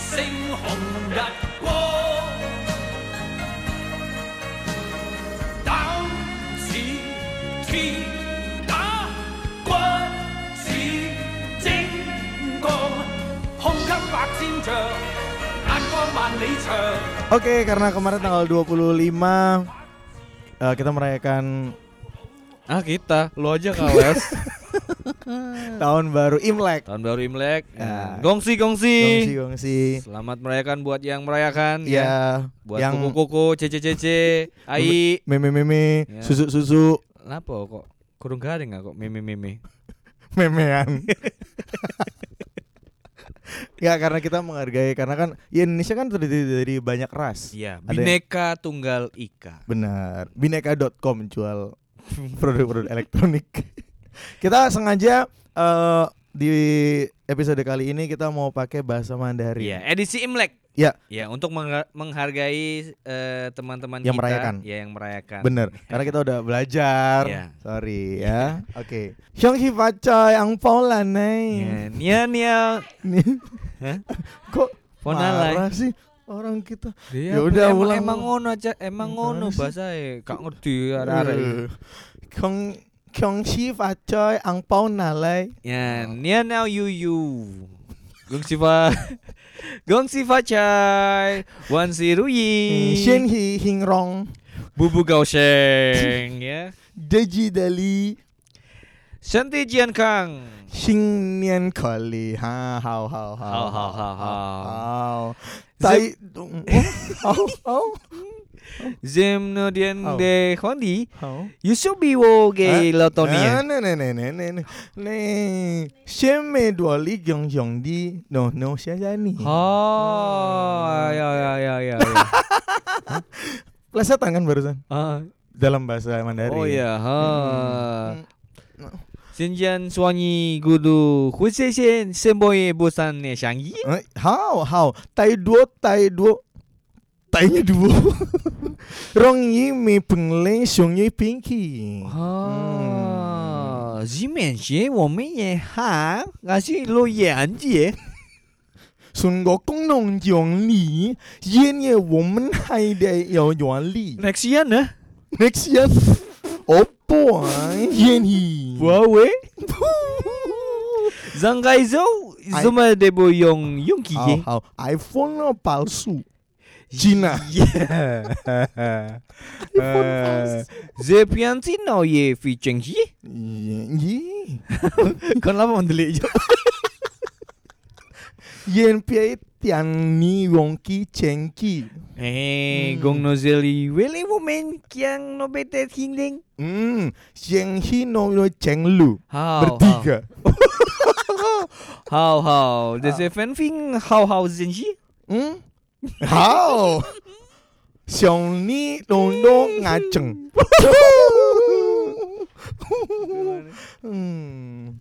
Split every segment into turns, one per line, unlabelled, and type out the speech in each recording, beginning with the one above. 紅日光。膽子鐵打骨子精剛，胸襟百千丈，眼光萬里長。
Oke, karena kemarin tanggal 25 eh, kita merayakan
Ah kita, lu aja kales.
tahun baru Imlek.
Tahun baru Imlek.
Ya.
Gongsi, gongsi
Gongsi gongsi.
Selamat merayakan buat yang merayakan ya.
Ya,
Buat
yang
kuku-kuku, cece-cece, ai.
meme-meme,
Ya.
susu-susu,
Kenapa kok kurung garing aku meme-meme.
memean. ya karena kita menghargai karena kan ya Indonesia kan terdiri dari banyak ras.
Iya,
Ada yang-
Bineka Tunggal Ika.
Benar. Bineka.com jual produk-produk elektronik. kita sengaja eh, di episode kali ini kita mau pakai bahasa Mandarin.
Iya, edisi Imlek.
Ya.
Ya, untuk mengha- menghargai eh, teman-teman
Yang
kita
merayakan.
Ya, yang merayakan.
Bener, karena kita udah belajar.
Iya.
Sorry ya. Oke. Syonghi pacoy ang pola nih.
Ya, Nia nia. Hah?
Kok
Ponalai.
marah sih orang kita?
Ya
udah,
emang-
ulang.
Emang ngono aja, emang
Gimana
ngono
sih?
bahasae. Gak ngerti arek-arek.
Eh, Kyong Kyongshi pacoy ang ponalai.
Ya, Dạ, Nia Nao Yu Yu. Gong Siva. Gong Siva Chai. Wan Si Ruyi.
Shin hi hingrong.
Bubu Gao Sheng ya.
Deji dali.
Shanti Jian Kang.
Xing nian kali. Ha hao hao hao.
Hao, hao, hao, hao.
hao.
Zip-
Tai dong. Hao hao.
Zim no Dian
Oh.
de Hondi.
Hao.
Yusubi wo
Hah?
ge lotonia.
Nah, nah, nah, nah, nah, nah. Nih, siapa dua li gong gong di? No, no, siapa ni?
Oh, ya ya ya ya. ya.
Pelesetan kan barusan
Ah,
dalam bahasa Mandarin.
oh ya, ha.
Hmm.
Xinjiang suanyi gudu huiseshen semboye busan ne shangyi.
Eh, How, how? Tai duo, tai duo. Tainya duo. Rong yi mi peng leng xiong yi pinky.
哦，洗面鞋我们也喊，俺是录眼姐。
Sun go kong nong jiong li, yen ye woman hai de yao yuan li.
Next year 呢？
Next year, oh boy, yen hi.
我喂，人家走怎么得不用勇气
好
耶？
好，iPhone 哦，palsu，金啊，
这边子老也会珍惜，
咦，
看老板的脸就。
眼别点你用机前机，
哎，公路这里为了我们讲那边的听听，
嗯，先去弄了前路
好好
bertiga，
好好，这些粉粉好好珍惜。
嗯，好，想你弄弄牙整，嗯，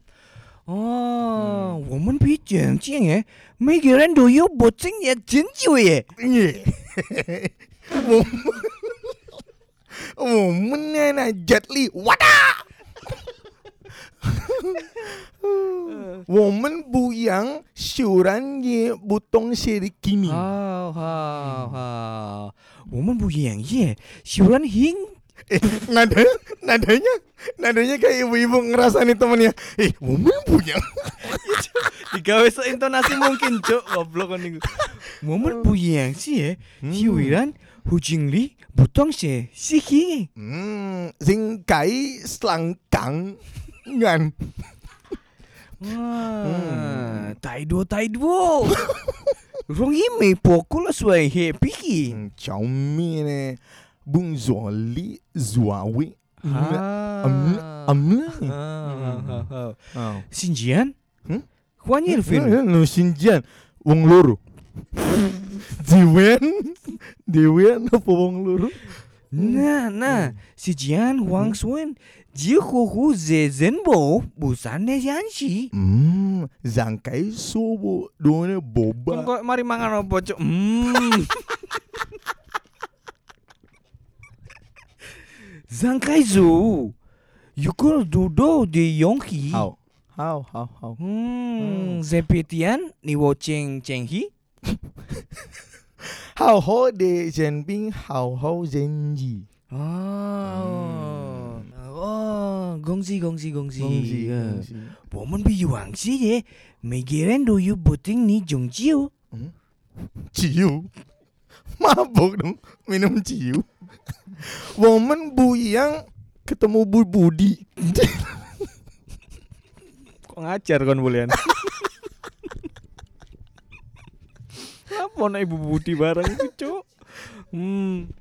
哦，我们比简健耶，每个人都有不正也针灸耶。
耶，我们我们呢那接力，我的。 我们不一样，虽然也不懂写的给
Hmm.
你。
好好好，我们不演耶，有人听。
Eh, nada, nadanya, nadanya kayak ibu-ibu ngerasain nih temennya. Eh, woman punya.
Digawe seintonasi mungkin, Cuk. Goblok Hmm. kan niku. Momen bu yang si ye, siwiran hujing li butong si siki.
Hmm, sing kai selangkang ngan.
Hmm. Wah, Ah, tai duo tai duo. Rong ime pokul suai he piki.
Hmm, Xiaomi ne, bung zoli zuawi. Am, am. Oh.
Xinjiang?
Hmm? eh,
Juan Yelvin.
Lu Xinjiang wong loro. Diwen, Diwen apa wong loro?
Nah, nah,
Hmm.
Xinjiang Huang Xuan, Jihu Hu Ze Zenbo, Busan Ne Yanxi.
Hmm, zangkai sobo done boba.
Kok mari mangan opo, Cuk? Hmm. Zangkai Zu. Yukur Dudo di Yonghi.
How? How how how? Hmm.
Hmm, Zepetian ni wo Cheng Cheng Hi.
Hao ho de Jinping Hao ho Zenji
Oh. Oh, gongzi gongzi gongzi.
Gongzi
Ya.
gongzi.
Wo men bi yuang si ye. Me giren do yu buting ni jong jiu.
Ciu Mabuk dong Minum ciu Woman buyang Ketemu Bu Budi
Kok ngajar kon bulian? Apa anak ibu Budi bareng itu, Cuk? Hmm.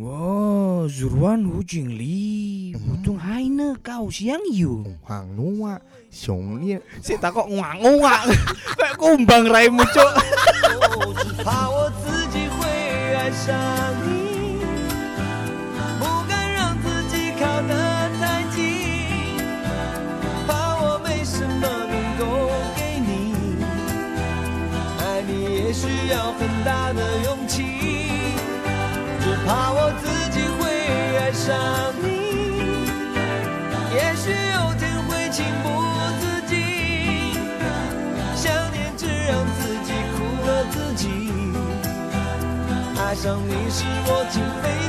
Wow, Zurwan Hu Jingli, butung haine kau siang yu.
Hoàng Nua Xiong Lia
Si tak kok nguak-nguak. Kayak kumbang raimu, Cuk.
怕我自己会爱上你，不敢让自己靠得太近，怕我没什么能够给你，爱你也需要很大的勇气，只怕我自己会爱上你，也许有天会情不自禁。想念只让自己苦了自己。爱上你是我情非